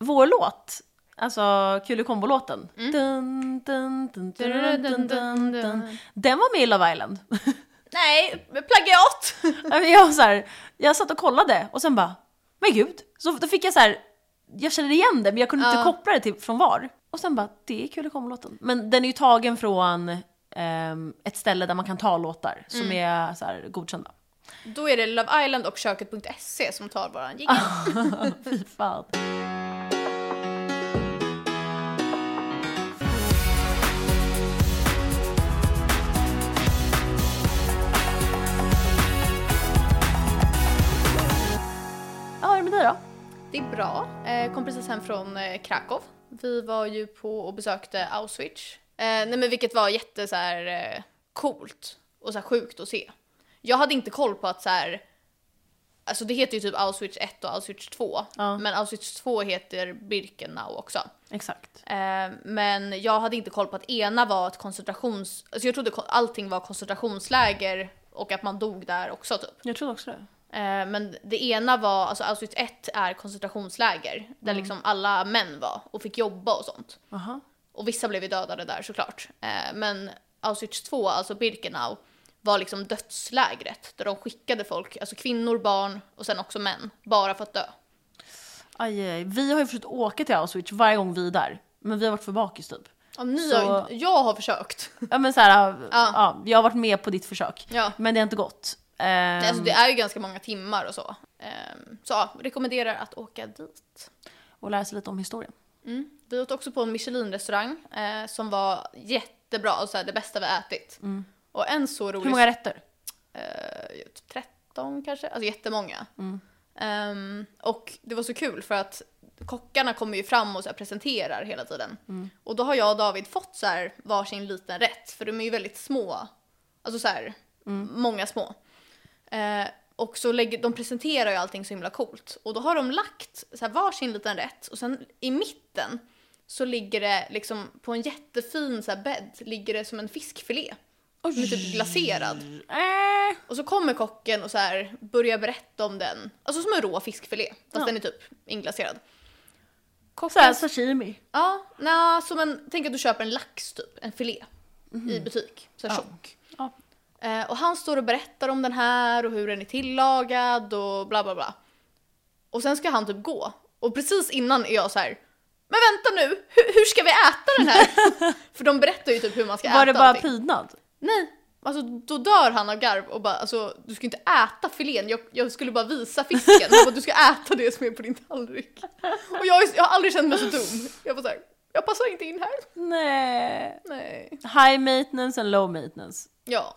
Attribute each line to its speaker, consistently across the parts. Speaker 1: vår låt, alltså Kulikombo-låten. Dun, dun, dun, Mm. dun, dun, dun, dun. Den var med i Love Island.
Speaker 2: Nej, plagiat!
Speaker 1: Ja, men jag, var så här, jag satt och kollade och sen bara, men gud. Så då fick jag så här, jag känner igen det men jag kunde
Speaker 2: Ja.
Speaker 1: inte koppla det till från var. Och sen bara, det är kul att komma låten. Men den är ju tagen från ehm, ett ställe där man kan ta låtar som är så här, godkända.
Speaker 2: Då är det Love Island och köket.se som tar våran jingel.
Speaker 1: Fy fan. Ja, hur är det med dig då?
Speaker 2: Det är bra. Eh, kom precis hem från eh, Krakow. Vi var ju på och besökte Auschwitz. Eh, nej men vilket var jätte så här, eh, coolt och så här, sjukt att se. Jag hade inte koll på att så här, alltså det heter ju typ Auschwitz 1 och Auschwitz 2.
Speaker 1: Ja.
Speaker 2: Men Auschwitz 2 heter Birkenau också.
Speaker 1: Exakt.
Speaker 2: Eh, men jag hade inte koll på att ena var ett koncentrations... Alltså jag trodde ko- allting var koncentrationsläger och att man dog där också typ.
Speaker 1: Jag trodde också det.
Speaker 2: Eh, Men det ena var, alltså Auschwitz 1 är koncentrationsläger där liksom alla män var och fick jobba och sånt.
Speaker 1: Aha.
Speaker 2: Och vissa blev ju dödade där såklart. Eh, Men Auschwitz 2, alltså Birkenau, var liksom dödslägret där de skickade folk, alltså kvinnor, barn och sen också män, bara för att dö.
Speaker 1: Aj, aj. Vi har ju försökt åka till Auschwitz varje gång vi är där. Men vi har varit för bakis typ.
Speaker 2: Ja, ni
Speaker 1: Så-
Speaker 2: har, ju inte- jag har försökt.
Speaker 1: Ja men såhär, ja.
Speaker 2: Ja.
Speaker 1: jag har varit med på ditt försök.
Speaker 2: Ja.
Speaker 1: Men det har inte gått. Ehm,
Speaker 2: Alltså det är ju ganska många timmar och så. Ehm, Så ja, rekommenderar att åka dit.
Speaker 1: Ehm, Och lära sig lite om historien.
Speaker 2: Mm. Vi åt också på en Michelin-restaurang eh, som var jättebra, och så här, det bästa vi ätit. Och en så rolig...
Speaker 1: Mm. Hur många rätter?
Speaker 2: eh, typ 13 kanske, alltså jättemånga. Ehm, och det var så kul för att kockarna kommer ju fram och så här presenterar hela tiden. Och då har jag och David fått så här varsin liten rätt, för de är ju väldigt små. Alltså så här, många små. Eh, och så lägger, de presenterar ju allting så himla coolt. Och då har de lagt så här varsin liten rätt och sen i mitten så ligger det liksom på en jättefin så här bädd, ligger det som en fiskfilé. Som är typ glaserad.
Speaker 1: Äh,
Speaker 2: Och så kommer kocken och så här börjar berätta om den. Alltså som en rå fiskfilé, fast den är typ inglaserad.
Speaker 1: såhär sashimi.
Speaker 2: Ja, nja, som en, tänk att du köper en lax typ, en filé. I butik, så här
Speaker 1: Mhm. Ja.
Speaker 2: tjock.
Speaker 1: Ja.
Speaker 2: Eh, och han står och berättar om den här och hur den är tillagad och bla bla bla. Och sen ska han typ gå. Och precis innan är jag så här. Men vänta nu, hur, hur ska vi äta den här? För de berättar ju typ hur man ska äta
Speaker 1: Var det bara
Speaker 2: allting.
Speaker 1: prydnad?
Speaker 2: Nej, alltså då dör han av garv och bara alltså du ska inte äta filén, jag, jag skulle bara visa fisken. Jag bara, du ska äta det som är på din tallrik. Och jag, är- jag har aldrig känt mig så dum. Jag bara såhär, jag passar inte in här.
Speaker 1: Nej.
Speaker 2: Nej.
Speaker 1: High maintenance and low maintenance.
Speaker 2: Ja.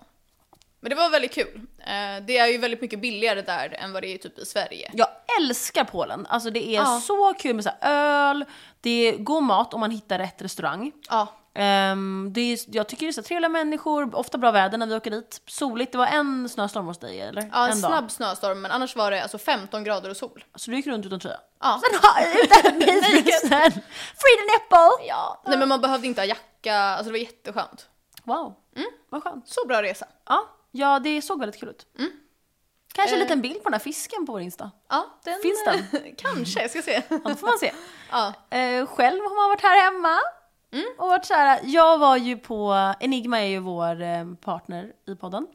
Speaker 2: Men det var väldigt kul. Eh, Det är ju väldigt mycket billigare där än vad det är typ i Sverige.
Speaker 1: Jag älskar Polen. Alltså det är
Speaker 2: Ja.
Speaker 1: så kul med så här öl, det är god mat om man hittar rätt restaurang.
Speaker 2: Ja.
Speaker 1: Ehm, det är, jag tycker det är så här trevliga människor, ofta bra väder när vi åker dit. Soligt, det var en snöstorm hos dig eller?
Speaker 2: Ja, en,
Speaker 1: dag.
Speaker 2: snabb snöstorm men annars var det alltså 15 grader och sol.
Speaker 1: Så du gick runt utan tröja?
Speaker 2: Ja.
Speaker 1: Sen har utan minfrysen! Free the nipple!
Speaker 2: ja. Nej men man behövde inte ha jacka, alltså det var jätteskönt.
Speaker 1: Wow,
Speaker 2: Mm.
Speaker 1: vad skönt.
Speaker 2: Så bra resa.
Speaker 1: Ja, ja, det såg väldigt kul ut. Kanske en
Speaker 2: Eh.
Speaker 1: liten bild på den här fisken på vår Insta.
Speaker 2: Ja, den,
Speaker 1: Finns den?
Speaker 2: Kanske, jag ska se.
Speaker 1: Ja, det får man se.
Speaker 2: Ja.
Speaker 1: Eh, själv har man varit här hemma. Och varit så här, jag var ju på, Enigma är ju vår eh, partner i podden.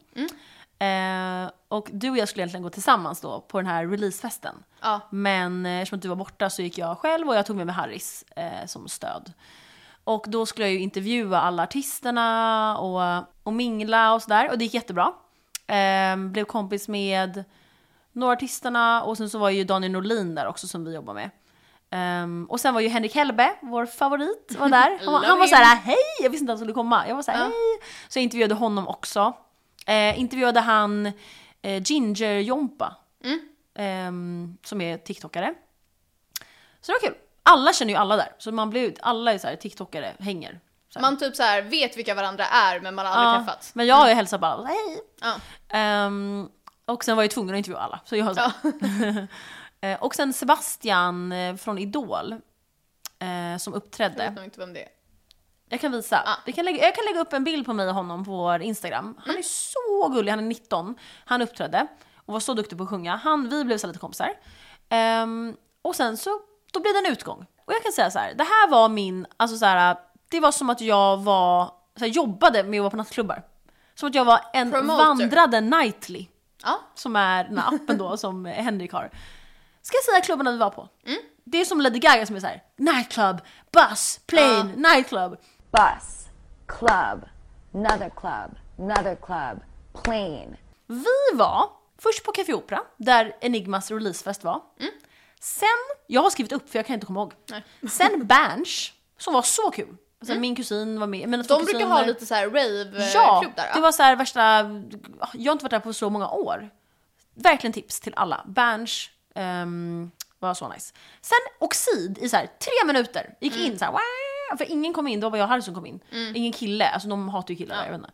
Speaker 1: Eh, och du och jag skulle egentligen gå tillsammans då på den här releasefesten.
Speaker 2: Ja.
Speaker 1: Men eh, eftersom att du var borta så gick jag själv och jag tog med mig Harris eh, som stöd. Och då skulle jag ju intervjua alla artisterna och, och mingla och sådär och det gick jättebra. Eh, blev kompis med några artisterna och sen så var ju Daniel Norlin där också som vi jobbar med. Ehm, och sen var ju Henrik Hellbe, vår favorit, var där. Han var, han
Speaker 2: Love
Speaker 1: var
Speaker 2: you.
Speaker 1: såhär hej, jag visste inte att han skulle komma. Jag var såhär
Speaker 2: Ja.
Speaker 1: hej. Så jag intervjuade honom också. Eh, intervjuade han eh, Ginger Jompa, ehm, som är tiktokare. Så det var kul. Alla känner ju alla där, så man blir, alla är såhär tiktokare, hänger. Så här.
Speaker 2: Man typ så här vet vilka varandra är men man har aldrig
Speaker 1: Ja,
Speaker 2: träffats. Mm.
Speaker 1: men jag har ju hälsat på alla, hej.
Speaker 2: Ja.
Speaker 1: Ehm, och sen var jag ju tvungen att intervjua alla. Så jag har så. Eh, och sen Sebastian eh, från Idol eh, som
Speaker 2: Jag vet
Speaker 1: uppträdde.
Speaker 2: nog inte vem det är.
Speaker 1: Jag kan visa.
Speaker 2: Ah.
Speaker 1: Vi kan lägga, jag kan lägga upp en bild på mig och honom på vår Instagram. Han är så gullig, han är 19. Han uppträdde och var så duktig på att sjunga. Han, vi blev så här lite kompisar. Ehm, och sen så Då blir det en utgång. Och jag kan säga så här, det här var min, alltså så här, det var som att jag var, så här, jobbade med att vara på nattklubbar. Som att jag var en
Speaker 2: Promoter.
Speaker 1: vandrade nightly,
Speaker 2: Ja.
Speaker 1: som är den här appen då som Henrik har. Ska jag säga klubbarna vi var på? Det är som Lady Gaga som är så här, nightclub, bus, plane, nightclub.
Speaker 3: bus, club, another club, another club, plane.
Speaker 1: Vi var först på Café Opera, där Enigmas releasefest var.
Speaker 2: Mm.
Speaker 1: Sen, jag har skrivit upp för jag kan inte komma ihåg. Sen Berns, som var så kul. Sen min kusin var med, mina två
Speaker 2: Mm. De brukar
Speaker 1: kusiner.
Speaker 2: ha lite så här eh, rave-klubb
Speaker 1: Ja,
Speaker 2: där.
Speaker 1: det
Speaker 2: ja.
Speaker 1: var så här värsta, jag har inte varit där på så många år. Verkligen tips till alla. Berns ehm, var så nice. Sen Oxid i så här tre minuter, gick
Speaker 2: Mm.
Speaker 1: in så här, "Wah!" för ingen kom in, det var bara jag och Harry som kom in. Ingen kille, alltså de hatar ju killar, jag vet inte.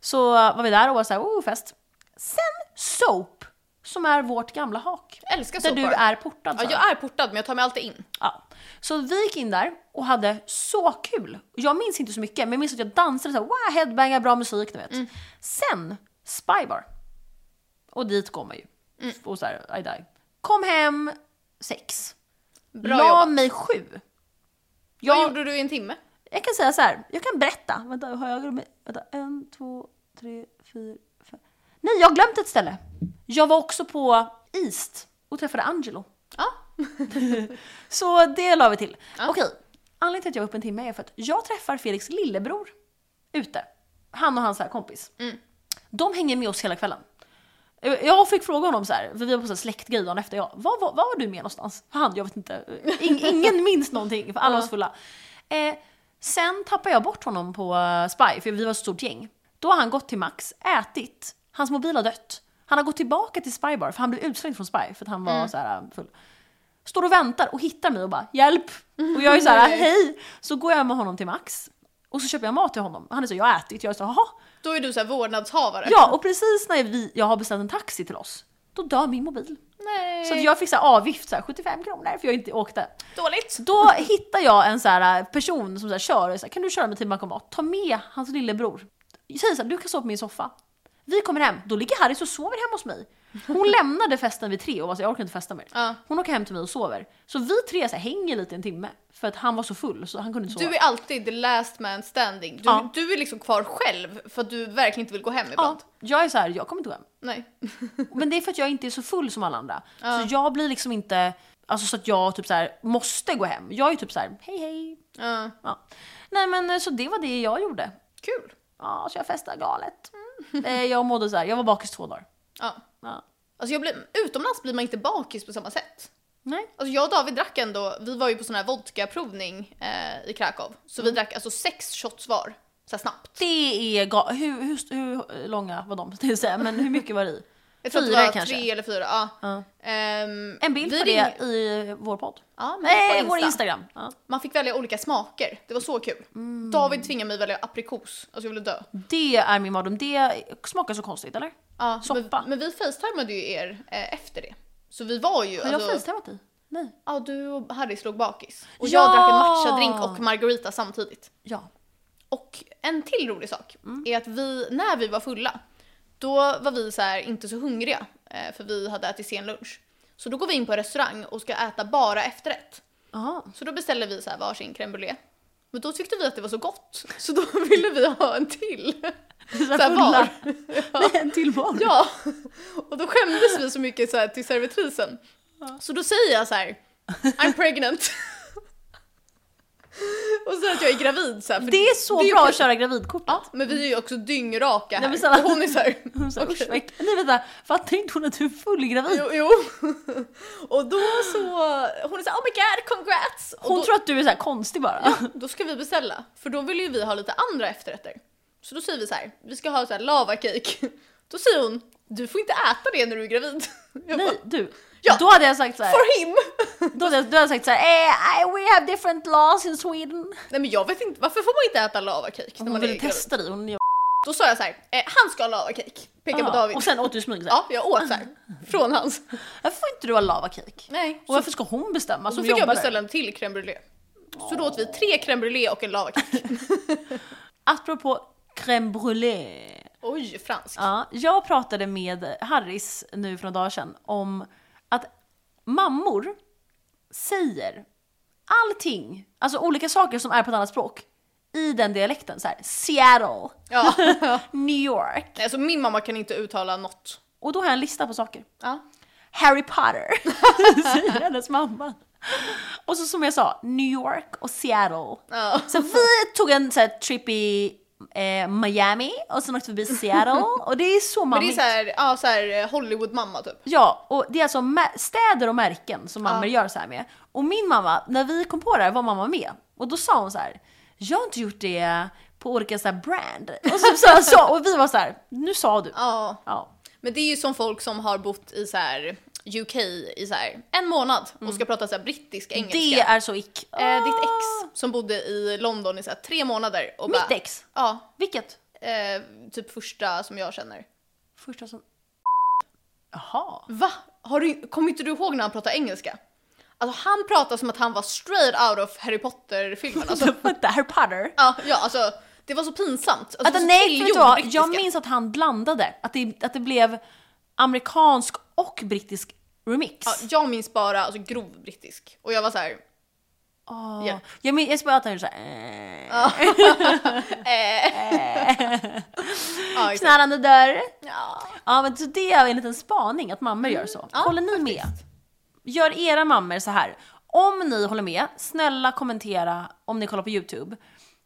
Speaker 1: Så var vi där och var så här, oh fest. Sen Soap, som är vårt gamla hak.
Speaker 2: Jag älskar
Speaker 1: Där du
Speaker 2: soapbar.
Speaker 1: är portad.
Speaker 2: Ja,
Speaker 1: Sara.
Speaker 2: jag är portad men jag tar mig alltid in.
Speaker 1: Ja. Så vi gick in där och hade så kul. Jag minns inte så mycket, men jag minns att jag dansade så här, wow, headbangar, bra musik, du vet.
Speaker 2: Mm.
Speaker 1: Sen, Spybar. Och dit går man ju.
Speaker 2: Mm.
Speaker 1: Och så här, aj, aj. Kom hem sex.
Speaker 2: Bra
Speaker 1: La
Speaker 2: jobbat.
Speaker 1: mig sju.
Speaker 2: Vad
Speaker 1: Jag,
Speaker 2: gjorde du i en timme?
Speaker 1: jag kan säga så här, jag kan berätta. Vänta, har jag glömt? Vänta, en, två, tre, fyra, fem. Nej, jag har glömt ett ställe. Jag var också på East och träffade Angelo.
Speaker 2: Ja.
Speaker 1: Så det la vi till. Okej, anledningen till att jag var uppe en timme är för att jag träffar Felix lillebror ute. Han och hans här kompis. De hänger med oss hela kvällen. Jag fick fråga honom så här, för vi var på så här släktgrej dagen efter. Jag, vad, vad, vad var du med någonstans? Han, jag vet inte. In, ingen minns någonting, för alla var så fulla. Eh, sen tappade jag bort honom på eh, Spy, för vi var ett stort gäng. Då har han gått till Max, ätit, hans mobil har dött. Han har gått tillbaka till Spybar, för han blev utslängd från Spy, för att han var så här eh, full står och väntar och hittar mig och bara “hjälp”. Och jag är så här “hej”. Så går jag med honom till Max och så köper jag mat till honom. Han är så “jag har ätit”, jag är så “jaha”.
Speaker 2: Då är du så här vårdnadshavare.
Speaker 1: Ja, och precis när vi, jag har beställt en taxi till oss, då dör min mobil.
Speaker 2: Nej.
Speaker 1: Så att jag fick så här avgift, så här, 75 kronor, för jag inte åkte.
Speaker 2: Dåligt.
Speaker 1: Då hittar jag en så här eh, person som så här kör, och är så här, kan du köra mig till bankomat? Ta med hans lillebror. Jag säger så här, du kan sova på min soffa. Vi kommer hem, då ligger Harris och sover hemma hos mig. Hon lämnade festen vid tre och var så här, jag orkar inte festa mer.
Speaker 2: Ja.
Speaker 1: Hon åker hem till mig och sover. Så vi tre så här, hänger lite en timme. För att han var så full så han kunde inte sova.
Speaker 2: Du är alltid the last man standing. Du,
Speaker 1: Ja.
Speaker 2: du är liksom kvar själv för att du verkligen inte vill gå hem
Speaker 1: ja,
Speaker 2: ibland.
Speaker 1: jag är så här, jag kommer inte gå hem.
Speaker 2: Nej.
Speaker 1: Men det är för att jag inte är så full som alla andra. Så jag blir liksom inte, alltså så att jag typ så här, måste gå hem. Jag är typ så här, hej hej.
Speaker 2: Ja.
Speaker 1: Ja. Nej men eh, så det var det jag gjorde.
Speaker 2: Kul.
Speaker 1: Ja, så jag festade galet.
Speaker 2: Mm.
Speaker 1: Eh, jag mådde så här, jag var bakis två dagar.
Speaker 2: Ja.
Speaker 1: Ja.
Speaker 2: Alltså jag blir, utomlands blir man inte bakis på samma sätt.
Speaker 1: Nej.
Speaker 2: Alltså jag och David drack ändå, vi var ju på sån här vodkaprovning eh, i Krakow. Så
Speaker 1: Mm.
Speaker 2: vi drack alltså sex shots var. Så här snabbt.
Speaker 1: Det är ga- hur, hur, hur långa var de? tänkte jag säga, Men hur mycket var det i?
Speaker 2: Jag tror att
Speaker 1: Fyra
Speaker 2: det var
Speaker 1: kanske.
Speaker 2: tre eller fyra. Ja.
Speaker 1: Ja.
Speaker 2: Ehm,
Speaker 1: En bild
Speaker 2: vi
Speaker 1: på
Speaker 2: ring-
Speaker 1: det i vår podd.
Speaker 2: Ja, men
Speaker 1: Nej,
Speaker 2: på
Speaker 1: vår
Speaker 2: Insta.
Speaker 1: Instagram. Ja.
Speaker 2: Man fick välja olika smaker. Det var så kul.
Speaker 1: Mm.
Speaker 2: David tvingade mig välja aprikos. Alltså jag ville dö.
Speaker 1: Det är min mardröm. Det smakar så konstigt, eller?
Speaker 2: Ja,
Speaker 1: Soppa.
Speaker 2: Men, men vi facetimade ju er eh, efter det. Så vi var ju...
Speaker 1: Har jag
Speaker 2: alltså,
Speaker 1: facetimat dig? Nej.
Speaker 2: ja, du och Harry slog bakis.
Speaker 1: Ja!
Speaker 2: Och jag drack en matchadrink och margarita samtidigt.
Speaker 1: Ja.
Speaker 2: Och en till rolig sak
Speaker 1: Mm.
Speaker 2: är att vi, när vi var fulla, då var vi så här, inte så hungriga eh, för vi hade ätit sen lunch. Så då går vi in på en restaurang och ska äta bara efterrätt.
Speaker 1: Jaha.
Speaker 2: Så då beställde vi så här varsin crème brûlée. Men då tyckte vi att det var så gott, så då ville vi ha en till.
Speaker 1: Så
Speaker 2: här var.
Speaker 1: Nej, en till var.
Speaker 2: Ja, och då skämdes vi så mycket så här till servitrisen. Så då säger jag så här, I'm pregnant. och så att jag är gravid så här, för
Speaker 1: Det är så
Speaker 2: ju
Speaker 1: bra
Speaker 2: kul.
Speaker 1: att köra gravidkortet.
Speaker 2: Ja, men vi är ju också dyngraka här.
Speaker 1: men snälla.
Speaker 2: och hon är så här,
Speaker 1: Hon sa,
Speaker 2: okej.
Speaker 1: "Usch, vad äck-" Nej vänta, fattar inte hon att du är fullgravid?
Speaker 2: Jo, jo. Och då så, hon är så här, oh my god, congrats! Och
Speaker 1: Hon
Speaker 2: då,
Speaker 1: tror att du är så här konstig bara.
Speaker 2: då ska vi beställa, för då vill ju vi ha lite andra efterrätter. Så då säger vi så här, vi ska ha så här lavacake. Då säger hon, du får inte äta det när du är gravid. Jag bara,
Speaker 1: Nej, du.
Speaker 2: Ja.
Speaker 1: Då hade jag sagt så här.
Speaker 2: For him!
Speaker 1: Då hade jag, då hade jag sagt så här, eh, I- we have different laws in Sweden.
Speaker 2: Nej men jag vet inte, varför får man inte äta lavacake när
Speaker 1: Hon
Speaker 2: man är
Speaker 1: ville
Speaker 2: gravid?
Speaker 1: testa dig, hon är
Speaker 2: Då sa jag så här, eh, han ska ha lavacake. Pekar på
Speaker 1: Ja, Ah,
Speaker 2: David.
Speaker 1: Och sen åt du i smyg såhär.
Speaker 2: Ja, jag åt så här, från hans.
Speaker 1: Varför får inte du ha lavacake?
Speaker 2: Nej.
Speaker 1: Och varför ska hon bestämma
Speaker 2: Och så
Speaker 1: som
Speaker 2: fick jag
Speaker 1: jobbar
Speaker 2: beställa
Speaker 1: där?
Speaker 2: en till crème brûlée. Så då åt vi tre crème brûlée och en lavacake.
Speaker 1: Apropå crème brûlée.
Speaker 2: Oj, fransk.
Speaker 1: Ja, jag pratade med Harris nu för några dagar sedan om att mammor säger allting, alltså olika saker som är på ett annat språk i den dialekten. Så här, Seattle,
Speaker 2: Ja.
Speaker 1: New York.
Speaker 2: Nej, alltså min mamma kan inte uttala något.
Speaker 1: Och då har jag en lista på saker.
Speaker 2: Ja.
Speaker 1: Harry Potter, säger hennes mamma. Och så som jag sa, New York och Seattle.
Speaker 2: Ja.
Speaker 1: Så vi tog en så här, trip i eh, Miami och sen åkte vi förbi Seattle och det är så
Speaker 2: Men det är
Speaker 1: mammigt.
Speaker 2: såhär, ja, så här Hollywood-mamma typ.
Speaker 1: Ja, och det är alltså mä- städer och märken som mammor
Speaker 2: Ja.
Speaker 1: gör så här med. Och min mamma, när vi kom på det här var mamma med. Och då sa hon så här, jag har inte gjort det på olika så här brand. Och, så, så, så, och vi var så här, nu sa du.
Speaker 2: Ja.
Speaker 1: Ja.
Speaker 2: Men det är ju som folk som har bott i så här UK i så här en månad och ska prata så här brittisk engelska.
Speaker 1: Det är så ick.
Speaker 2: eh, ditt ex som bodde i London i så här tre månader och
Speaker 1: Mitt
Speaker 2: bara,
Speaker 1: ex?
Speaker 2: Ja,
Speaker 1: Vilket?
Speaker 2: eh, typ första som jag känner.
Speaker 1: Första som... Jaha.
Speaker 2: Va? Har du, kommer inte du ihåg när han pratade engelska? Alltså han pratade som att han var straight out of Harry Potter-filmen. Alltså,
Speaker 1: Vänta, Harry Potter?
Speaker 2: ja, ja, alltså det var så pinsamt. Alltså,
Speaker 1: Vänta,
Speaker 2: det var så
Speaker 1: nej, vet du
Speaker 2: tillgjord
Speaker 1: vad?
Speaker 2: brittiska.
Speaker 1: Jag minns att han blandade. Att det, att det blev amerikansk och brittisk remix.
Speaker 2: Ja, jag minns bara alltså, grov brittisk och jag var så här.
Speaker 1: Åh.
Speaker 2: Ja.
Speaker 1: Ah. Jag minns jag minns bara att han gjorde såhär... Äh,
Speaker 2: Ja, exakt.
Speaker 1: knarrande dörr.
Speaker 2: ja.
Speaker 1: Ja, men så det är en liten spaning att mammor
Speaker 2: Mm,
Speaker 1: gör så. håller ni med? Gör era mammor så här. Om ni håller med, snälla kommentera om ni kollar på YouTube.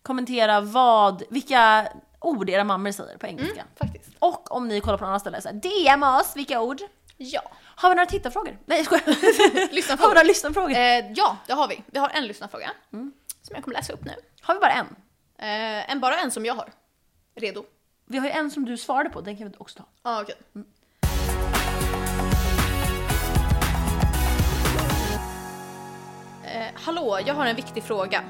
Speaker 1: Kommentera vad, vilka ord era mammor säger
Speaker 2: Mm.
Speaker 1: på engelska.
Speaker 2: faktiskt.
Speaker 1: Och om ni kollar på någon annan ställe, så här, DM oss vilka ord.
Speaker 2: Ja.
Speaker 1: Har vi några tittarfrågor? Nej jag skojar.
Speaker 2: Lyssnarfrågor.
Speaker 1: Har vi några lyssnarfrågor?
Speaker 2: Eh, ja, det har vi. Vi har en lyssnarfråga
Speaker 1: Mm.
Speaker 2: som jag kommer läsa upp nu.
Speaker 1: Har vi bara en?
Speaker 2: Eh, en, bara en som jag har. Redo?
Speaker 1: Vi har ju en som du svarade på, den kan vi också ta.
Speaker 2: Ja, okej. Eh, hallå, jag har en viktig fråga.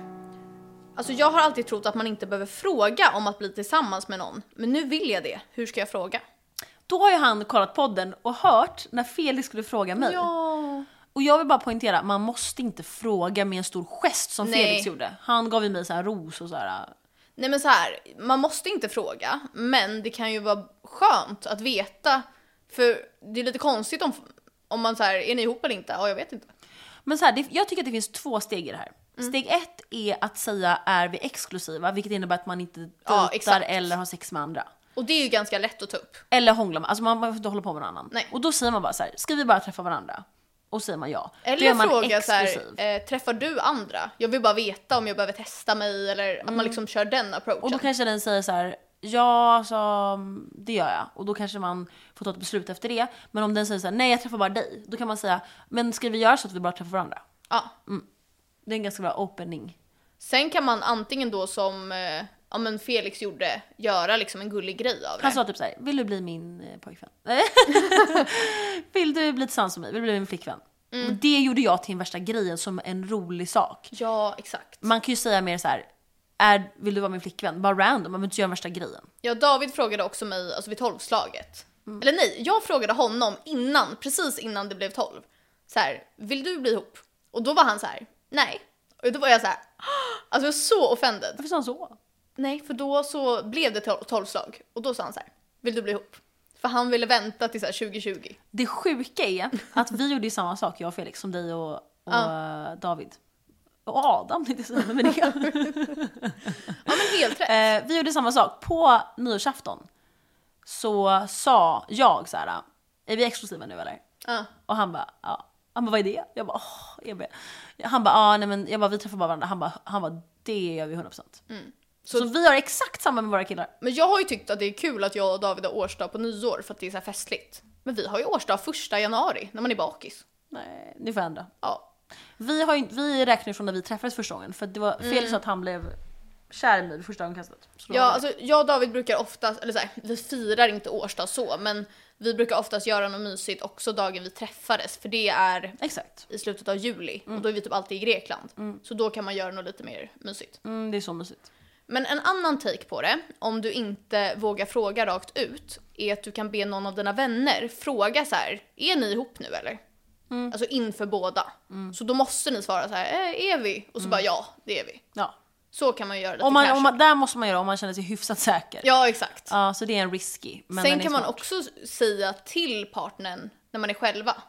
Speaker 2: Alltså jag har alltid trott att man inte behöver fråga om att bli tillsammans med någon. Men nu vill jag det. Hur ska jag fråga?
Speaker 1: Då har ju han kollat podden och hört när Felix skulle fråga mig.
Speaker 2: Ja.
Speaker 1: Och jag vill bara poängtera, man måste inte fråga med en stor gest som
Speaker 2: Nej.
Speaker 1: Felix gjorde. Han gav ju mig så här ros och så här.
Speaker 2: Nej men så här, man måste inte fråga, men det kan ju vara skönt att veta. För det är lite konstigt om, om man så här, är ni ihop eller inte? Ja, jag vet inte.
Speaker 1: Men så här, det, jag tycker att det finns två steg i det här.
Speaker 2: Mm.
Speaker 1: Steg ett är att säga är vi exklusiva, vilket innebär att man inte
Speaker 2: Ja,
Speaker 1: dejtar
Speaker 2: exakt.
Speaker 1: eller har sex med andra.
Speaker 2: Och det är ju ganska lätt att ta upp.
Speaker 1: Eller hångla med, alltså man man får inte hålla på med någon annan.
Speaker 2: Nej.
Speaker 1: Och då säger man bara så här, ska vi bara träffa varandra? Och säger man ja. då
Speaker 2: Eller
Speaker 1: är man
Speaker 2: fråga så
Speaker 1: exklusiv.
Speaker 2: här, eh, träffar du andra? Jag vill bara veta om jag behöver testa mig eller att man liksom kör den approachen.
Speaker 1: Mm. Och då kanske den säger så här, ja alltså, det gör jag. Och då kanske man får ta ett beslut efter det. Men om den säger så här, nej jag träffar bara dig. Då kan man säga, men ska vi göra så att vi bara träffar varandra?
Speaker 2: ja.
Speaker 1: Det är en ganska bra opening.
Speaker 2: Sen kan man antingen då som eh, ja, men Felix gjorde, göra liksom en gullig grej av det.
Speaker 1: Han sa typ såhär, vill du bli min eh, pojkvän? vill du bli tillsammans med mig? Vill du bli min flickvän? Och det gjorde jag till den värsta grejen som en rolig sak.
Speaker 2: ja, exakt.
Speaker 1: Man kan ju säga mer så här, är, vill du vara min flickvän? Bara random, man behöver inte göra den värsta grejen.
Speaker 2: Ja, David frågade också mig alltså vid tolvslaget.
Speaker 1: Mm.
Speaker 2: Eller nej, jag frågade honom innan, precis innan det blev tolv. Så här, vill du bli ihop? Och då var han så här, nej. Och då var jag så här, "Ah!" alltså jag var så offended.
Speaker 1: Varför sa han så?
Speaker 2: Nej, för då så blev det tol- tolvslag. Och då sa han så här, vill du bli ihop? För han ville vänta till så här 2020.
Speaker 1: Det sjuka är att vi gjorde ju samma sak, jag och Felix, som dig och, och eh, David. Och Adam tänkte jag säga, men det
Speaker 2: Ja men helt rätt.
Speaker 1: Eh, vi gjorde samma sak. På nyårsafton så sa jag så här, är vi exklusiva nu eller?
Speaker 2: Ja.
Speaker 1: Och han bara, ja. Han bara, vad är det? Jag bara, åh, EB. Han bara, ja nej men jag bara, vi träffar bara varandra. Han bara, han bara det gör vi 100%. Så, vi har exakt samma med våra killar.
Speaker 2: Men jag har ju tyckt att det är kul att jag och David har årsdag på nyår för att det är så här festligt. Men vi har ju årsdag första januari när man är bakis.
Speaker 1: Nej, ni får ändra.
Speaker 2: Ja,
Speaker 1: Vi, har ju, vi räknar ju från när vi träffades första gången för det var fel så att han blev kär i mig vid första ögonkastet. Så då
Speaker 2: Mm. Ja,
Speaker 1: var det-
Speaker 2: alltså jag och David brukar oftast, eller så här, vi firar inte årsdag så, men vi brukar oftast göra något mysigt också dagen vi träffades, för det är
Speaker 1: Exakt.
Speaker 2: i slutet av juli och då är vi typ alltid i Grekland. Så då kan man göra något lite mer mysigt.
Speaker 1: Mm, det är så mysigt.
Speaker 2: Men en annan take på det, om du inte vågar fråga rakt ut, är att du kan be någon av dina vänner fråga så här, är ni ihop nu eller?
Speaker 1: Mm.
Speaker 2: Alltså inför båda. Så då måste ni svara så här, "Eh, är vi? Och så bara ja, det är vi.
Speaker 1: Ja.
Speaker 2: Så kan man göra lite
Speaker 1: Mm. Om man,
Speaker 2: cash.
Speaker 1: om man, där måste man göra om man känner sig hyfsat säker.
Speaker 2: Ja, exakt.
Speaker 1: Ja, så det är en risky. Men den
Speaker 2: Sen
Speaker 1: är
Speaker 2: kan man
Speaker 1: smart.
Speaker 2: också säga till partnern när man är själva.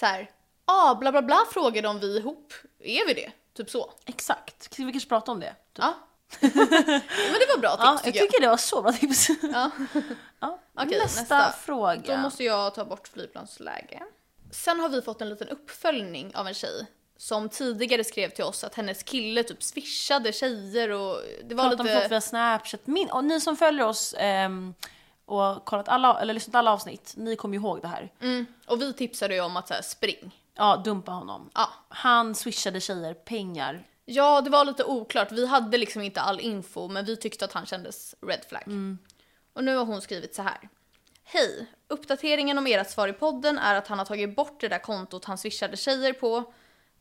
Speaker 2: Så här, ah, bla bla bla frågade om vi är ihop. Är vi det? Typ så.
Speaker 1: Exakt. Ska vi kanske prata om det? Typ.
Speaker 2: Ja. Men det var bra tips
Speaker 1: Ja, jag
Speaker 2: tycker jag.
Speaker 1: tycker det var så bra tips.
Speaker 2: Ja.
Speaker 1: Ja.
Speaker 2: Okej,
Speaker 1: nästa,
Speaker 2: nästa.
Speaker 1: fråga.
Speaker 2: Då måste jag ta bort flygplansläge. Sen har vi fått en liten uppföljning av en tjej som tidigare skrev till oss att hennes kille typ swishade tjejer och det var
Speaker 1: prata om folk
Speaker 2: lite...
Speaker 1: via Snapchat. Min, och ni som följer oss ehm, och kollat alla, eller lyssnat alla avsnitt, ni kommer ju ihåg det här.
Speaker 2: Mm, och vi tipsade ju om att så här, spring.
Speaker 1: Ja, dumpa honom.
Speaker 2: Ja.
Speaker 1: Han swishade tjejer pengar.
Speaker 2: ja, det var lite oklart. Vi hade liksom inte all info men vi tyckte att han kändes red flag. Och nu har hon skrivit så här. Hej! Uppdateringen om ert svar i podden är att han har tagit bort det där kontot han swishade tjejer på.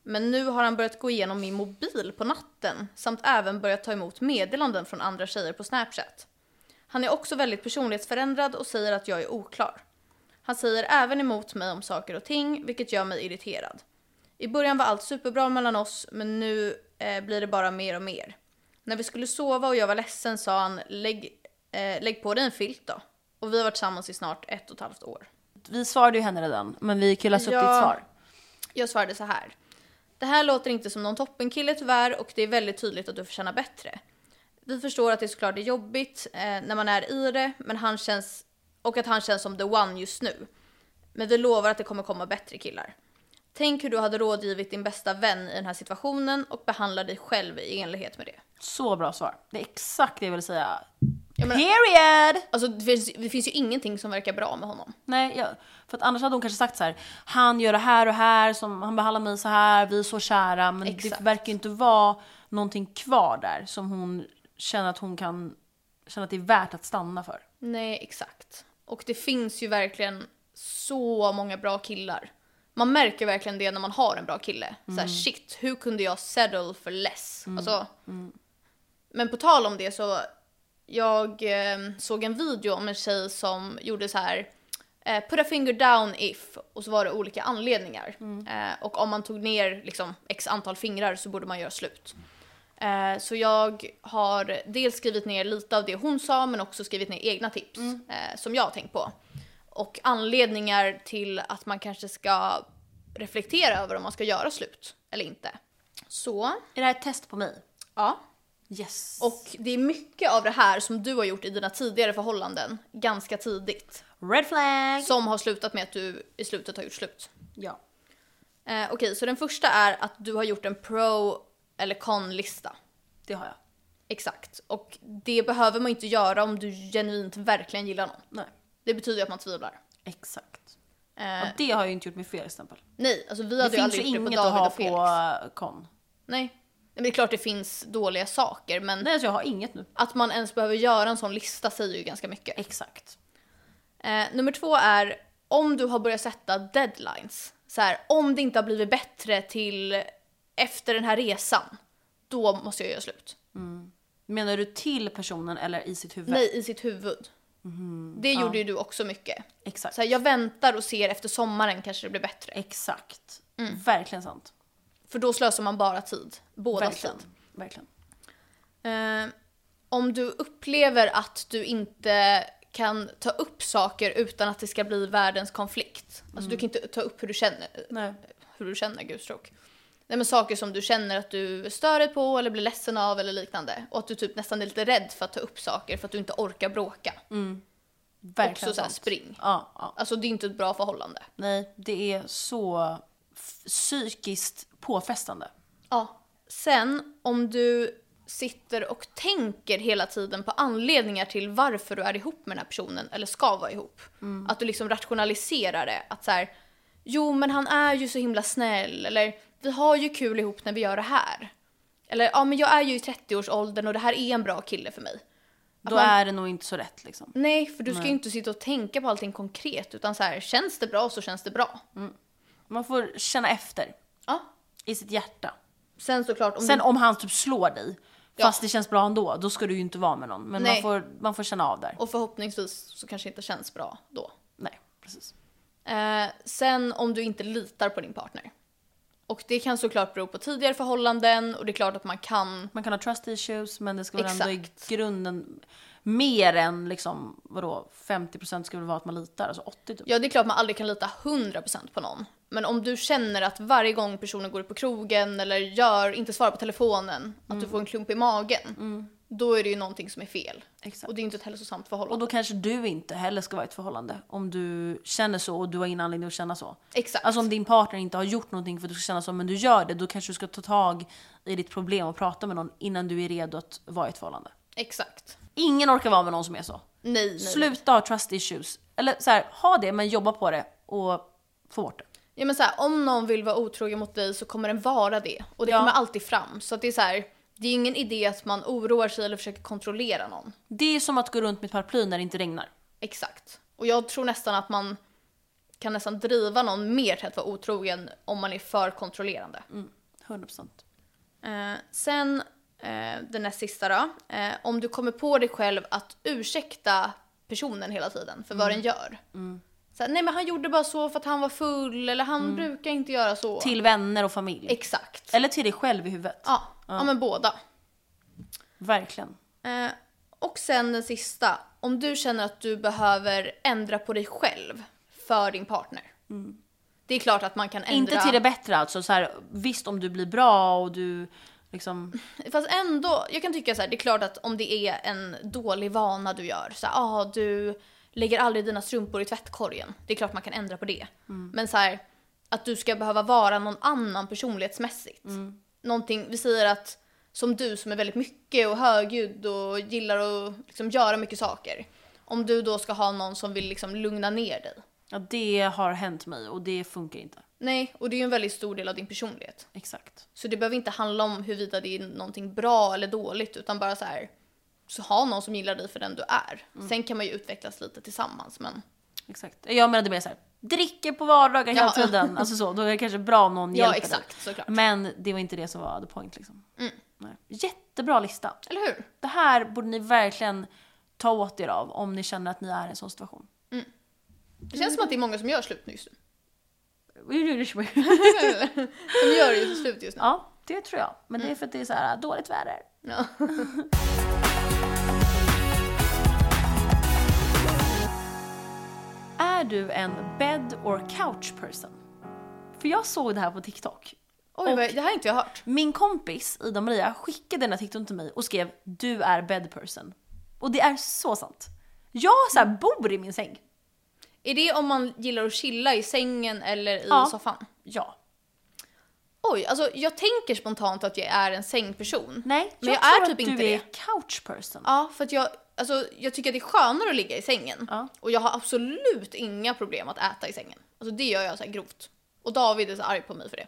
Speaker 2: Men nu har han börjat gå igenom min mobil på natten samt även börjat ta emot meddelanden från andra tjejer på Snapchat. Han är också väldigt personlighetsförändrad och säger att jag är oklar. Han säger även emot mig om saker och ting, vilket gör mig irriterad. I början var allt superbra mellan oss, men nu eh, blir det bara mer och mer. När vi skulle sova och jag var ledsen sa han lägg, eh, lägg på dig en filt då. Och vi har varit tillsammans i snart ett och ett halvt år.
Speaker 1: Vi svarade ju henne redan, men vi kan ju läsa upp
Speaker 2: Ja.
Speaker 1: ditt svar.
Speaker 2: Jag svarade så här. Det här låter inte som någon toppenkille tyvärr och det är väldigt tydligt att du förtjänar bättre. Vi förstår att det såklart är jobbigt eh, när man är i det men han känns, och att han känns som the one just nu. Men vi lovar att det kommer komma bättre killar. Tänk hur du hade rådgivit din bästa vän i den här situationen och behandlar dig själv i enlighet med det.
Speaker 1: Så bra svar. Det är exakt det jag ville säga.
Speaker 2: Jag menar-
Speaker 1: Period!
Speaker 2: Alltså det finns, det finns ju ingenting som verkar bra med honom.
Speaker 1: Nej, jag, för att annars hade hon kanske sagt så här. han gör det här och här, som, han behandlar mig så här, vi är så kära. Men
Speaker 2: Exakt.
Speaker 1: det verkar ju inte vara någonting kvar där som hon känner att hon kan, känner att det är värt att stanna för.
Speaker 2: Nej, exakt. Och det finns ju verkligen så många bra killar. Man märker verkligen det när man har en bra kille. Så här, shit, hur kunde jag settle for less? Alltså, Men på tal om det så, jag eh, såg en video om en tjej som gjorde så här eh, put a finger down if och så var det olika anledningar. Eh, och om man tog ner liksom x antal fingrar så borde man göra slut. Eh, så jag har dels skrivit ner lite av det hon sa men också skrivit ner egna tips eh, som jag har tänkt på. Och anledningar till att man kanske ska reflektera över om man ska göra slut eller inte. Så,
Speaker 1: Är det här ett test på mig?
Speaker 2: ja.
Speaker 1: Yes.
Speaker 2: Och det är mycket av det här som du har gjort i dina tidigare förhållanden ganska tidigt.
Speaker 1: red flag!
Speaker 2: Som har slutat med att du i slutet har gjort slut.
Speaker 1: Ja.
Speaker 2: Eh, Okej, så den första är att du har gjort en pro eller con-lista.
Speaker 1: Det har jag.
Speaker 2: Exakt. Och det behöver man inte göra om du genuint verkligen gillar någon.
Speaker 1: Nej.
Speaker 2: Det betyder ju att man tvivlar.
Speaker 1: Exakt.
Speaker 2: Eh,
Speaker 1: Och det har jag ju inte gjort med Felix till exempel.
Speaker 2: nej, alltså vi
Speaker 1: Det
Speaker 2: hade ju
Speaker 1: finns ju
Speaker 2: aldrig gjort det på
Speaker 1: inget att
Speaker 2: David
Speaker 1: ha
Speaker 2: och Felix.
Speaker 1: på eh, kon.
Speaker 2: Nej. Nej, men det är klart det finns dåliga saker men
Speaker 1: Nej, alltså jag har inget nu.
Speaker 2: att man ens behöver göra en sån lista säger ju ganska mycket.
Speaker 1: Exakt.
Speaker 2: Eh, nummer två är om du har börjat sätta deadlines. Så här, om det inte har blivit bättre till efter den här resan, då måste jag göra slut.
Speaker 1: Menar du till personen eller i sitt huvud?
Speaker 2: Nej, i sitt huvud. det gjorde ju du också mycket.
Speaker 1: Exakt.
Speaker 2: Så här, jag väntar och ser efter sommaren kanske det blir bättre.
Speaker 1: Exakt.
Speaker 2: Mm.
Speaker 1: Verkligen sant.
Speaker 2: För då slösar man bara tid. Båda tid.
Speaker 1: Verkligen. Verkligen.
Speaker 2: Eh, om du upplever att du inte kan ta upp saker utan att det ska bli världens konflikt. Alltså du kan inte ta upp hur du känner,
Speaker 1: Nej.
Speaker 2: hur du känner gudstråk. Nej men saker som du känner att du stör dig på eller blir ledsen av eller liknande. Och att du typ nästan är lite rädd för att ta upp saker för att du inte orkar bråka.
Speaker 1: Verkligen
Speaker 2: Också så här
Speaker 1: sant.
Speaker 2: spring.
Speaker 1: Ja, ja.
Speaker 2: Alltså det är inte ett bra förhållande.
Speaker 1: Nej, det är så f- psykiskt påfrestande.
Speaker 2: Ja. Sen om du sitter och tänker hela tiden på anledningar till varför du är ihop med den här personen eller ska vara ihop. Att du liksom rationaliserar det. Att så här, jo men han är ju så himla snäll eller vi har ju kul ihop när vi gör det här. Eller ja men jag är ju i 30-årsåldern och det här är en bra kille för mig. Att
Speaker 1: Då
Speaker 2: man-
Speaker 1: är det nog inte så rätt liksom.
Speaker 2: Nej, för du ska ju inte sitta och tänka på allting konkret utan så här, känns det bra så känns det bra.
Speaker 1: Man får känna efter
Speaker 2: Ja.
Speaker 1: i sitt hjärta.
Speaker 2: Sen såklart om du
Speaker 1: Sen om han typ slår dig,
Speaker 2: Mm. Ja.
Speaker 1: fast det känns bra ändå, då ska du ju inte vara med någon. Men man
Speaker 2: Nej.
Speaker 1: får, man får känna av där.
Speaker 2: Och förhoppningsvis så kanske det inte känns bra då.
Speaker 1: Nej, precis.
Speaker 2: Eh, sen om du inte litar på din partner. Och det kan såklart bero på tidigare förhållanden och det är klart att man kan...
Speaker 1: Man kan ha trust issues, men det ska väl ändå
Speaker 2: Exakt.
Speaker 1: i grunden mer än liksom, vadå, 50% ska väl vara att man litar, alltså 80 typ.
Speaker 2: Ja, det är klart man aldrig kan lita 100% på någon. Men om du känner att varje gång personen går upp på krogen eller gör, inte svarar på telefonen, att
Speaker 1: Mm.
Speaker 2: du får en klump i magen. Då är det ju någonting som är fel.
Speaker 1: Exakt.
Speaker 2: Och det är inte ett hälsosamt
Speaker 1: Och
Speaker 2: förhållande.
Speaker 1: då kanske du inte heller ska vara i ett förhållande om du känner så och du har ingen anledning att känna så.
Speaker 2: Exakt.
Speaker 1: Alltså om din partner inte har gjort någonting för att du ska känna så men du gör det, då kanske du ska ta tag i ditt problem och prata med någon innan du är redo att vara i ett förhållande.
Speaker 2: Exakt.
Speaker 1: Ingen orkar vara med någon som är så.
Speaker 2: Nej, nej, nej.
Speaker 1: Sluta ha trust issues. Eller så här, ha det men jobba på det och få bort det.
Speaker 2: Ja men så här, om någon vill vara otrogen mot dig så kommer den vara det. Och det
Speaker 1: Ja.
Speaker 2: kommer alltid fram. Så att det är så här, det är ju ingen idé att man oroar sig eller försöker kontrollera någon.
Speaker 1: Det är som att gå runt med ett paraply när det inte regnar.
Speaker 2: Exakt. Och jag tror nästan att man kan nästan driva någon mer till att vara otrogen om man är för kontrollerande.
Speaker 1: Mm. 100%.
Speaker 2: Eh, sen eh, den näst sista då. Eh, om du kommer på dig själv att ursäkta personen hela tiden för vad
Speaker 1: Mm.
Speaker 2: den gör. Så här, nej men han gjorde bara så för att han var full eller han brukar inte göra så.
Speaker 1: Mm. Till vänner och familj.
Speaker 2: Exakt.
Speaker 1: Eller till dig själv i huvudet.
Speaker 2: Ja, ja men båda.
Speaker 1: Verkligen.
Speaker 2: Eh, och sen den sista. Om du känner att du behöver ändra på dig själv för din partner. Det är klart att man kan ändra.
Speaker 1: Mm. Inte till det bättre alltså. Så här, visst om du blir bra och du liksom...
Speaker 2: Fast ändå, jag kan tycka så här, det är klart att om det är en dålig vana du gör, så här, ah, du lägger aldrig dina strumpor i tvättkorgen. Det är klart man kan ändra på det. Men så här, att du ska behöva vara någon annan personlighetsmässigt. Någonting, vi säger att som du som är väldigt mycket och högljudd och gillar att liksom göra mycket saker. Om du då ska ha någon som vill liksom lugna ner dig.
Speaker 1: Ja, det har hänt mig och det funkar inte.
Speaker 2: Nej, och det är ju en väldigt stor del av din personlighet.
Speaker 1: Exakt.
Speaker 2: Så det behöver inte handla om huruvida det är någonting bra eller dåligt utan bara så här så ha någon som gillar dig för den du är.
Speaker 1: Mm.
Speaker 2: Sen kan man ju utvecklas lite tillsammans men
Speaker 1: Exakt. Jag menade mer såhär, dricker på vardagar hela
Speaker 2: Ja.
Speaker 1: tiden. Alltså så, då är det kanske bra om någon
Speaker 2: Ja,
Speaker 1: hjälper Mm.
Speaker 2: exakt, Mm. såklart.
Speaker 1: Men det var inte det som var the point liksom. Nej. Jättebra lista.
Speaker 2: eller hur?
Speaker 1: Det här borde ni verkligen ta åt er av om ni känner att ni är i en sån situation.
Speaker 2: Det
Speaker 1: Mm.
Speaker 2: känns som att det är många som gör slut nu just nu. som gör just slut just nu.
Speaker 1: ja, det tror jag. Men det är för att det är så här dåligt väder.
Speaker 2: Ja.
Speaker 1: Är du en bed or couch person? För jag såg det här på TikTok.
Speaker 2: Oj, vad, det här har inte jag hört.
Speaker 1: Min kompis Ida Maria skickade den här TikToken till mig och skrev “Du är bed person”. Och det är så sant. Jag så här bor i min säng.
Speaker 2: Är det om man gillar att chilla i sängen eller i
Speaker 1: Ja.
Speaker 2: soffan?
Speaker 1: Ja.
Speaker 2: Oj, alltså jag tänker spontant att jag är en sängperson.
Speaker 1: Nej,
Speaker 2: men jag,
Speaker 1: tror
Speaker 2: är
Speaker 1: att
Speaker 2: typ
Speaker 1: du
Speaker 2: inte
Speaker 1: är
Speaker 2: det.
Speaker 1: couch person.
Speaker 2: Ja, för att jag, alltså, jag tycker att det är skönare att ligga i sängen.
Speaker 1: Ja.
Speaker 2: Och jag har absolut inga problem att äta i sängen. Alltså det gör jag så här grovt. Och David är så arg på mig för det.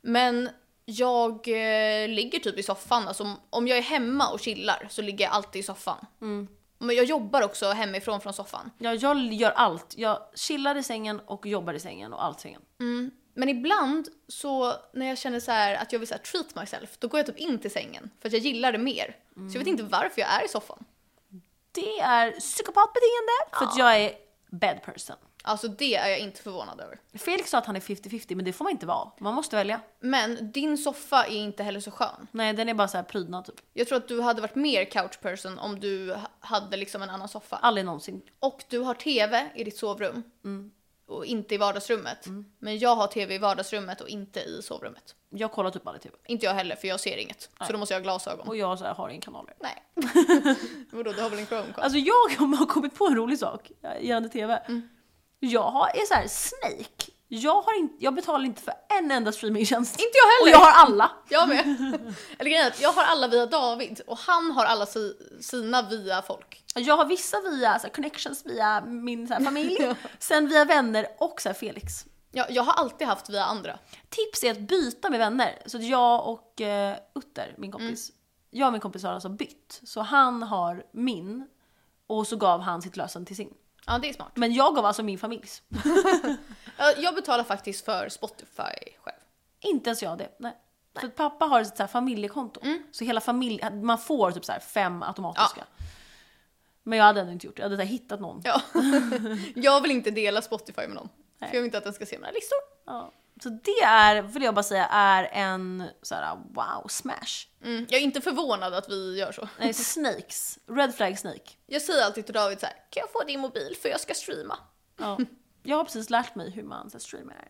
Speaker 2: Men jag eh, ligger typ i soffan. Alltså, om- om jag är hemma och chillar så ligger jag alltid i soffan. Men jag jobbar också hemifrån från soffan.
Speaker 1: Ja, jag gör allt. Jag chillar i sängen och jobbar i sängen och allt i sängen.
Speaker 2: Men ibland så när jag känner så här att jag vill så här treat myself, då går jag typ in till sängen. För att jag gillar det mer. Så jag vet inte varför jag är i soffan.
Speaker 1: Det är psykopatbeteende för att jag är bed person.
Speaker 2: Alltså det är jag inte förvånad över.
Speaker 1: Felix sa att han är 50-50 men det får man inte vara. Man måste välja.
Speaker 2: Men din soffa är inte heller så skön.
Speaker 1: Nej den är bara så här prydnad typ.
Speaker 2: Jag tror att du hade varit mer couchperson om du ha- hade liksom en annan soffa.
Speaker 1: Aldrig någonsin.
Speaker 2: Och du har tv i ditt sovrum. Och inte i vardagsrummet. Men jag har tv i vardagsrummet och inte i sovrummet.
Speaker 1: Jag kollar typ aldrig TV.
Speaker 2: Inte jag heller för jag ser inget. Så då måste jag ha glasögon.
Speaker 1: Och jag så här, har inga kanaler.
Speaker 2: Nej. Vadå, du har väl en Chromecast?
Speaker 1: Alltså jag har kommit på en rolig sak gällande TV.
Speaker 2: Mm.
Speaker 1: Jag har, är så här Snake. Jag, har inte, jag betalar inte för en enda streamingtjänst.
Speaker 2: Inte jag heller!
Speaker 1: Och jag har alla.
Speaker 2: Jag med. Eller grejen är att jag har alla via David och han har alla si- sina via folk.
Speaker 1: Jag har vissa via så här, connections via min så här, familj, sen via vänner och så här, Felix.
Speaker 2: Jag, jag har alltid haft via andra.
Speaker 1: Tips är att byta med vänner. Så att jag och eh, Utter, min kompis, jag och min kompis har alltså bytt. Så han har min och så gav han sitt lösen till sin.
Speaker 2: Ja, det är smart.
Speaker 1: Men jag gav alltså min familjs.
Speaker 2: Jag- Jag betalar faktiskt för Spotify själv.
Speaker 1: Inte ens jag det. Nej. För att pappa har ett så här familjekonto. Så hela familj, man får typ så här fem automatiska. Men jag hade ändå inte gjort det. Jag hade så här hittat någon.
Speaker 2: Ja. jag vill inte dela Spotify med någon.
Speaker 1: Nej.
Speaker 2: För jag vill inte att den ska se mina listor.
Speaker 1: Ja. Så det är, vill jag bara säga, är en så här wow smash.
Speaker 2: Mm, jag är inte förvånad att vi gör så.
Speaker 1: Nej, snakes. Red flag snake.
Speaker 2: Jag säger alltid till David så här: kan jag få din mobil för jag ska streama?
Speaker 1: Ja. Jag har precis lärt mig hur man så här, streamar.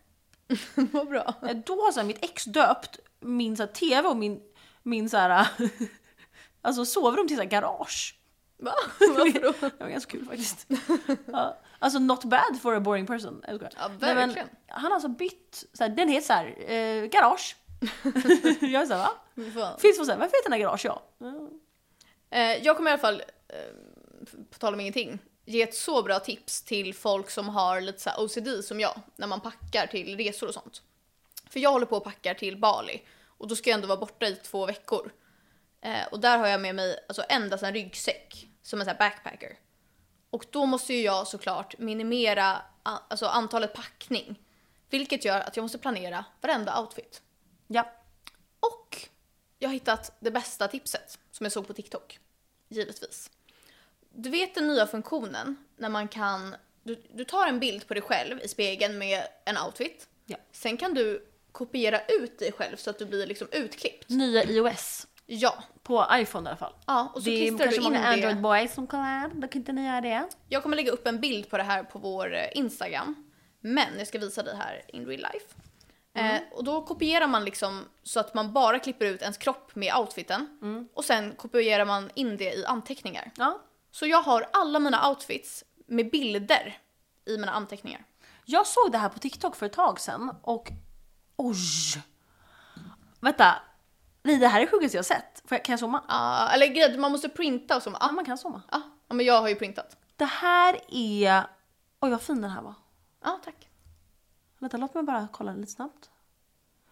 Speaker 2: Vad bra.
Speaker 1: Eh, Då har så här, mitt ex döpt min så här, tv och min, min så här, alltså sovrum till så här, garage.
Speaker 2: Va? Varför då?
Speaker 1: Det var ganska kul faktiskt. Ja, alltså not bad for a boring person. Jag skojar.
Speaker 2: Ja,
Speaker 1: Nej, men
Speaker 2: verkligen.
Speaker 1: han har alltså bytt, så här, den heter så här, eh, garage. jag är såhär va?
Speaker 2: Fy fan.
Speaker 1: Finns det så här, varför heter den här garage ja?
Speaker 2: Eh, jag kommer i alla fall, eh, på tal om ingenting, ge ett så bra tips till folk som har lite så här OCD som jag, när man packar till resor och sånt. För jag håller på och packar till Bali och då ska jag ändå vara borta i två veckor. Eh, och där har jag med mig alltså, endast en ryggsäck som en så här backpacker. Och då måste ju jag såklart minimera a- alltså, antalet packning. Vilket gör att jag måste planera varenda outfit.
Speaker 1: Ja.
Speaker 2: Och jag har hittat det bästa tipset som jag såg på TikTok. Givetvis. Du vet den nya funktionen när man kan... Du, du tar en bild på dig själv i spegeln med en outfit.
Speaker 1: Ja.
Speaker 2: Sen kan du kopiera ut dig själv så att du blir liksom utklippt.
Speaker 1: Nya iOS.
Speaker 2: Ja.
Speaker 1: På iPhone i alla fall.
Speaker 2: ja och så
Speaker 1: det är
Speaker 2: klistrar du
Speaker 1: kanske
Speaker 2: in det.
Speaker 1: många Android boys som kollar, då kan inte ni göra det.
Speaker 2: Jag kommer lägga upp en bild på det här på vår eh, Instagram. Men jag ska visa dig här in real life. Eh, och då kopierar man liksom så att man bara klipper ut ens kropp med outfiten. Och sen kopierar man in det i anteckningar.
Speaker 1: Ja.
Speaker 2: Så jag har alla mina outfits med bilder i mina anteckningar.
Speaker 1: Jag såg det här på TikTok för ett tag sedan och oj! Vänta, nej det här är sjukaste jag har sett. Får jag, kan jag zooma?
Speaker 2: Ah, eller grejen, man måste printa och så.
Speaker 1: Ja,
Speaker 2: Ah,
Speaker 1: man kan zooma.
Speaker 2: ah, ja, men jag har ju printat.
Speaker 1: Det här är... Oj vad fin den här var.
Speaker 2: Ja, ah, tack.
Speaker 1: Vänta, låt mig bara kolla lite snabbt.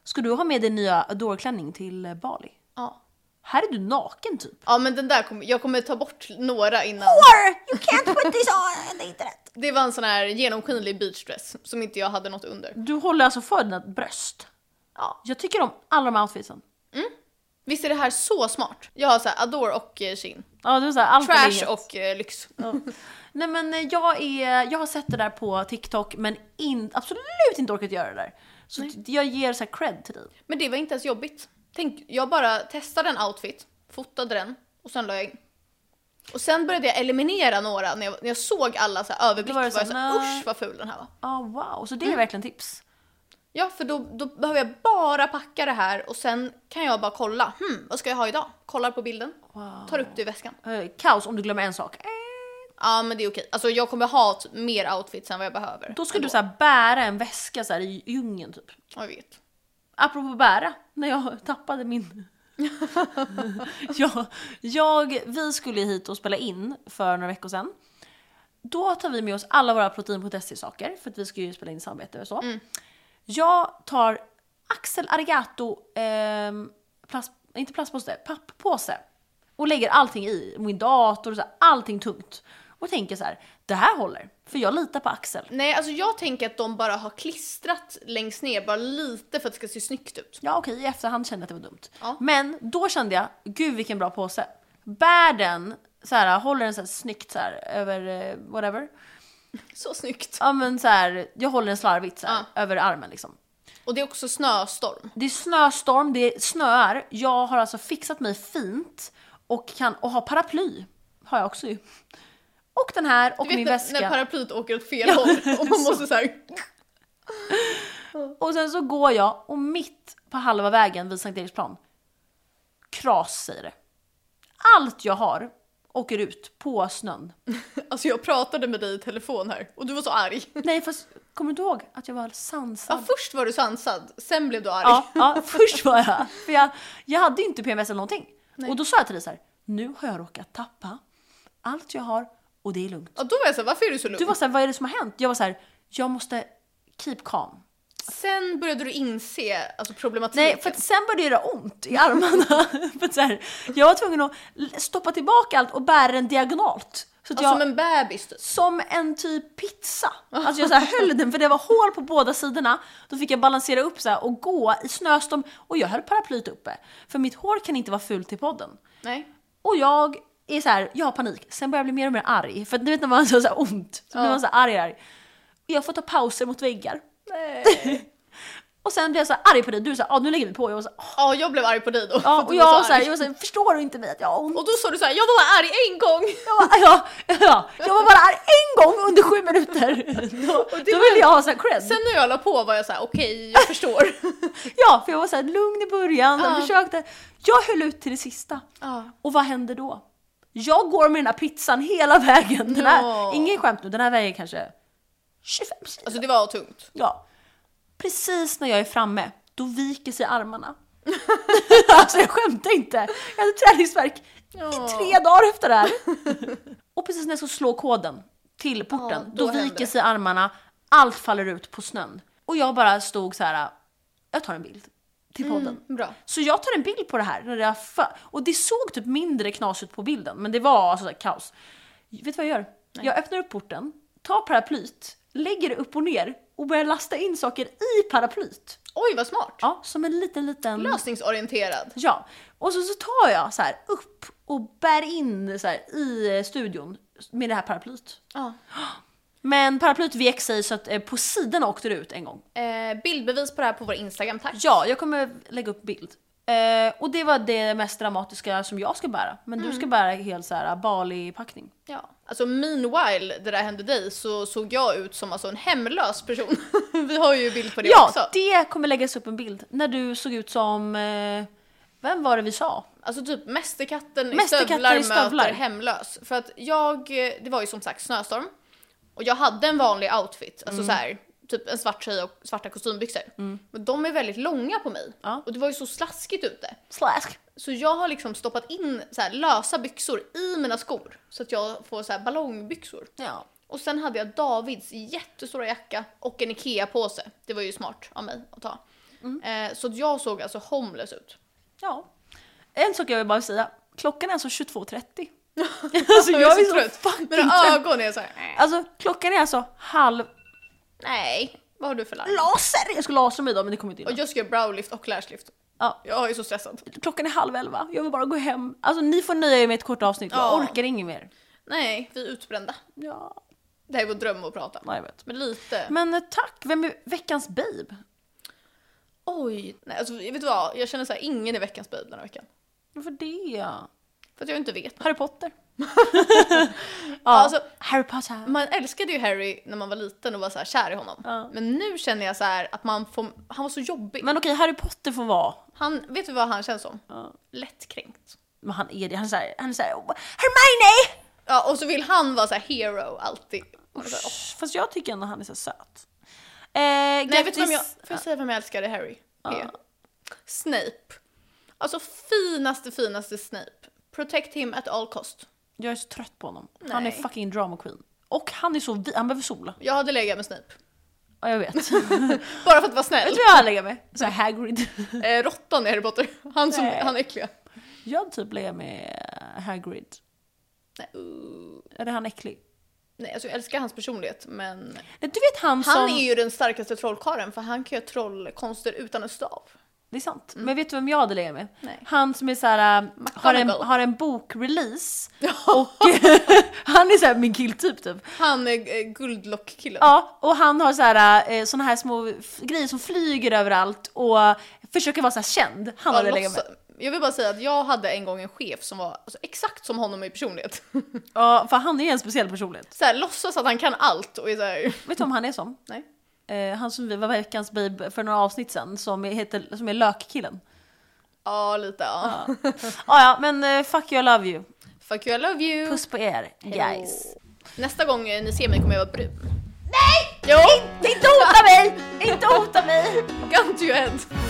Speaker 1: Ska du ha med din nya Adore-klänning till eh, Bali?
Speaker 2: Ja, ah.
Speaker 1: Här är du naken typ.
Speaker 2: ah, men den där kommer, jag kommer ta bort några innan.
Speaker 1: You can't put this on the internet.
Speaker 2: Det var en sån här genomskinlig beachdress som inte jag hade något under.
Speaker 1: Du håller alltså för dina bröst.
Speaker 2: Ja.
Speaker 1: Jag tycker om alla de här outfitsen.
Speaker 2: Visst är det här så smart? Jag har så här Adore och eh, Shein.
Speaker 1: Ja, det är så här, allt eller inget.
Speaker 2: Trash och eh, lyx.
Speaker 1: Nej men eh, jag, är, jag har sett det där på TikTok men in, absolut inte orkat göra det där. Så t- jag ger så här cred till dig.
Speaker 2: Men det var inte ens jobbigt. Tänk, jag bara testade en outfit, fotade den och sen la jag in. Och sen började jag eliminera några när jag, när jag såg alla så här överblick.
Speaker 1: Då var
Speaker 2: var
Speaker 1: det
Speaker 2: jag så
Speaker 1: så
Speaker 2: här,
Speaker 1: här, nej.
Speaker 2: usch vad ful den här var.
Speaker 1: Ja wow, så det är verkligen tips.
Speaker 2: Ja, för då, då behöver jag bara packa det här och sen kan jag bara kolla. Hmm, vad ska jag ha idag? Kollar på bilden, tar upp det i väskan.
Speaker 1: Eh, Kaos om du glömmer en sak. Eh,
Speaker 2: Ja, men det är okej. Alltså jag kommer ha t- mer outfits än vad jag behöver.
Speaker 1: Då ska du så här bära en väska så här i djungeln typ.
Speaker 2: Jag vet.
Speaker 1: Apropå bära, när jag tappade min... jag, jag, vi skulle hit och spela in för några veckor sedan. Då tar vi med oss alla våra protein.se-saker för att vi ska ju spela in samarbete och så. Jag tar Axel Arigato, ehm, plast, inte plastpåse, papppåse. Och lägger allting i, min dator och så här, allting tungt. Och tänker så här, det här håller. För jag litar på Axel.
Speaker 2: Nej, alltså jag tänker att de bara har klistrat längst ner, bara lite för att det ska se snyggt ut.
Speaker 1: Ja okej, i efterhand kände jag att det var dumt.
Speaker 2: Ja.
Speaker 1: Men då kände jag, gud vilken bra påse. Bär den, så här, håller den så här snyggt så här, över eh, whatever.
Speaker 2: Så snyggt.
Speaker 1: Ja men så här, jag håller den slarvigt så här, över armen liksom.
Speaker 2: Och det är också snöstorm.
Speaker 1: Det är snöstorm, det snöar. Jag har alltså fixat mig fint och, kan, och har paraply. Har jag också ju. Och den här och
Speaker 2: Du vet
Speaker 1: min
Speaker 2: när,
Speaker 1: väska.
Speaker 2: när paraplyet åker åt fel håll och man måste så här.
Speaker 1: Och sen så går jag och mitt på halva vägen vid Sankt Eriksplan. Kras säger det. Allt jag har åker ut på snön.
Speaker 2: Alltså jag pratade med dig i telefon här och du var så arg.
Speaker 1: Nej fast kommer du ihåg att jag var
Speaker 2: Ja,
Speaker 1: sansad?
Speaker 2: först var du sansad, sen blev du arg.
Speaker 1: Ja, ja först var jag För jag, jag hade ju inte PMS eller någonting. Och då sa jag till dig så här, nu har jag råkat tappa allt jag har och det är lugnt.
Speaker 2: Ja, då var jag så här, varför är du så lugn?
Speaker 1: Du var så här, vad är det som har hänt? Jag var så här, jag måste keep calm.
Speaker 2: Sen började du inse alltså, problematiken.
Speaker 1: Nej, för att sen började det göra ont i armarna. för att så här, jag var tvungen att l- stoppa tillbaka allt och bära den diagonalt. Så att
Speaker 2: ja,
Speaker 1: jag,
Speaker 2: Alltså, Som en bebis typ.
Speaker 1: som en typ pizza. Alltså jag så här höll den för det var hål på båda sidorna. Då fick jag balansera upp så här och gå i snöstorm och jag höll paraplyet uppe. För mitt hår kan inte vara fult i podden.
Speaker 2: Nej.
Speaker 1: Och jag är så här, jag har panik. Sen börjar jag bli mer och mer arg. För att ni vet när man har så här ont, så blir man så här arg, arg. Och Jag får ta pauser mot väggar.
Speaker 2: Nej.
Speaker 1: Och Och sen blev jag så här arg på dig, du sa ah, nu lägger vi på. Jag var så här, "Ah."
Speaker 2: Ja, jag blev arg på dig då. för
Speaker 1: ja,
Speaker 2: att
Speaker 1: och
Speaker 2: du
Speaker 1: jag
Speaker 2: var
Speaker 1: var
Speaker 2: så
Speaker 1: så här,
Speaker 2: arg.
Speaker 1: jag var så här, förstår du inte mig att jag har ont?
Speaker 2: Och då sa du så här, jag var bara arg en gång!
Speaker 1: Jag var, ja, ja, jag var bara arg en gång under sju minuter. Då, då
Speaker 2: var-
Speaker 1: ville jag ha så här cred.
Speaker 2: Sen när jag la på var jag så här, okej, jag förstår.
Speaker 1: Ja, för jag var så här lugn i början och
Speaker 2: Ja.
Speaker 1: försökte. Jag höll ut till det sista.
Speaker 2: Ja.
Speaker 1: Och vad händer då? Jag går med den här pizzan hela vägen. Den här,
Speaker 2: Ja.
Speaker 1: Ingen skämt nu, den här vägen kanske 25 kilo.
Speaker 2: Alltså det var tungt.
Speaker 1: Ja. Precis när jag är framme, då viker sig armarna. alltså jag skämtar inte. Jag hade träningsvärk i tre dagar efter det här. Och precis när jag ska slå koden till porten,
Speaker 2: Ja,
Speaker 1: då,
Speaker 2: då händer
Speaker 1: viker
Speaker 2: det.
Speaker 1: sig armarna, allt faller ut på snön. Och jag bara stod så här, jag tar en bild till
Speaker 2: Mm.
Speaker 1: podden.
Speaker 2: Bra.
Speaker 1: Så jag tar en bild på det här. När det fa- och det såg typ mindre knas ut på bilden, men det var alltså så här kaos. Vet du vad jag gör? Jag öppnar upp porten, tar paraplyt, lägger det upp och ner och börjar lasta in saker i paraplyt.
Speaker 2: Oj vad smart!
Speaker 1: Ja, som en liten, liten...
Speaker 2: Lösningsorienterad.
Speaker 1: Ja. Och så, så tar jag så här upp och bär in så här i eh, studion med det här paraplyt.
Speaker 2: Ja.
Speaker 1: Men paraplyt vek sig så att eh, på sidan åkte det ut en gång.
Speaker 2: Eh, bildbevis på det här på vår Instagram, tack.
Speaker 1: Ja, jag kommer lägga upp bild. Eh, och det var det mest dramatiska som jag ska bära. Men du ska bära helt så här ah, Bali-packning.
Speaker 2: Ja. Alltså meanwhile det där hände dig så såg jag ut som alltså en hemlös person. Vi har ju bild på det
Speaker 1: Ja,
Speaker 2: också.
Speaker 1: det kommer läggas upp en bild när du såg ut som... Eh, vem var det vi sa?
Speaker 2: Alltså typ mästerkatten,
Speaker 1: Mästerkatten
Speaker 2: i
Speaker 1: i
Speaker 2: stövlar
Speaker 1: stövlar.
Speaker 2: möter hemlös. För att jag, eh, det var ju som sagt snöstorm. Och jag hade en vanlig outfit,
Speaker 1: Mm.
Speaker 2: alltså så här, typ en svart tröja och svarta kostymbyxor. Men de är väldigt långa på mig.
Speaker 1: Ja.
Speaker 2: Och det var ju så slaskigt ute.
Speaker 1: Slask.
Speaker 2: Så jag har liksom stoppat in så här, lösa byxor i mina skor. Så att jag får så här, ballongbyxor.
Speaker 1: Ja.
Speaker 2: Och sen hade jag Davids jättestora jacka och en IKEA-påse. Det var ju smart av mig att ta.
Speaker 1: Mm.
Speaker 2: Eh, så att jag såg alltså homeless ut.
Speaker 1: ja. En sak jag vill bara säga. Klockan är alltså 22.30. alltså jag är så fucking
Speaker 2: Mina
Speaker 1: trött.
Speaker 2: ögon är så här. "Äh,
Speaker 1: Alltså klockan är alltså halv...
Speaker 2: Nej, vad har du för larm?
Speaker 1: Mm. Laser! Jag ska lasra mig idag men det kommer inte
Speaker 2: Och
Speaker 1: in.
Speaker 2: jag ska göra browlift och lashlift.
Speaker 1: Ja.
Speaker 2: Jag är så stressad.
Speaker 1: Klockan är halv elva, jag vill bara gå hem. Alltså ni får nöja er med ett kort avsnitt, jag
Speaker 2: Ja.
Speaker 1: orkar inget mer.
Speaker 2: Nej, vi är utbrända.
Speaker 1: Ja,
Speaker 2: Det här är vår dröm att prata om.
Speaker 1: nej, jag vet.
Speaker 2: Men lite.
Speaker 1: Men eh, tack, vem är veckans babe?
Speaker 2: oj. Nej, alltså, vet du vad? Jag känner så här, ingen är veckans babe den här veckan.
Speaker 1: Varför det?
Speaker 2: För att jag inte vet.
Speaker 1: Harry Potter. ja,
Speaker 2: alltså-
Speaker 1: Harry Potter.
Speaker 2: Man älskade ju Harry när man var liten och var så här kär i honom.
Speaker 1: Ja.
Speaker 2: Men nu känner jag så här att man får, han var så jobbig.
Speaker 1: Men okej, Harry Potter får vara.
Speaker 2: Han, vet du vad han känns som?
Speaker 1: Ja.
Speaker 2: Lättkränkt.
Speaker 1: Men han är det, han är såhär, han är såhär, "Oh, Hermione!
Speaker 2: Ja, och så vill han vara så här hero alltid. Och så här, åh.
Speaker 1: Usch, Fast jag tycker ändå han är så söt. Eh, Nej,
Speaker 2: Nej, vet du vem jag, får jag säga vem jag älskade i Harry? är? Snape. Alltså finaste, finaste Snape. Protect him at all cost.
Speaker 1: Jag är så trött på honom. Han är
Speaker 2: Nej.
Speaker 1: fucking drama queen. Och han är så, vi- han behöver sol.
Speaker 2: Jag hade legat med Snape.
Speaker 1: Ja, jag vet. jag tror
Speaker 2: Bara för att vara snäll.
Speaker 1: jag lägger mig. Såhär Hagrid.
Speaker 2: Eh, Råttan i Harry Potter. Han som,
Speaker 1: Nej.
Speaker 2: han är äckliga.
Speaker 1: Jag typ lägger med Hagrid.
Speaker 2: Nej, uh.
Speaker 1: Är det han äcklig?
Speaker 2: Nej, alltså jag älskar hans personlighet men
Speaker 1: Du vet han, som...
Speaker 2: han är ju den starkaste trollkarlen för han kan göra trollkonster utan en stav.
Speaker 1: Det är sant. Men vet du vem jag hade legat med?
Speaker 2: Mm. Nej.
Speaker 1: Han som är så här, äh, har, en,
Speaker 2: McGonagall.
Speaker 1: har en bokrelease och han är så här min killtyp typ.
Speaker 2: Han är eh, guldlockkillen.
Speaker 1: Ja, och han har så här, äh, såna här små f- grejer som flyger överallt och försöker vara så här känd. Han
Speaker 2: Jag,
Speaker 1: hade legat med.
Speaker 2: låtsas- jag vill bara säga att jag hade en gång en chef som var alltså, exakt som honom i personlighet.
Speaker 1: Ja, för han är ju en speciell personlighet.
Speaker 2: så här, låtsas att han kan allt och är så här...
Speaker 1: Vet du vem han är som?
Speaker 2: Nej.
Speaker 1: Eh, han som vi var veckans babe för några avsnitt sen som är, heter, som är lökkillen.
Speaker 2: Ja, lite ja.
Speaker 1: Ah, ja, men eh, fuck you, I love you.
Speaker 2: Fuck you, I love you.
Speaker 1: Puss på er, guys.
Speaker 2: Nästa gång eh, ni ser mig kommer jag vara brun.
Speaker 1: Nej! Jo. Inte, inte hota mig! Inte hota mig!
Speaker 2: Gun to your head.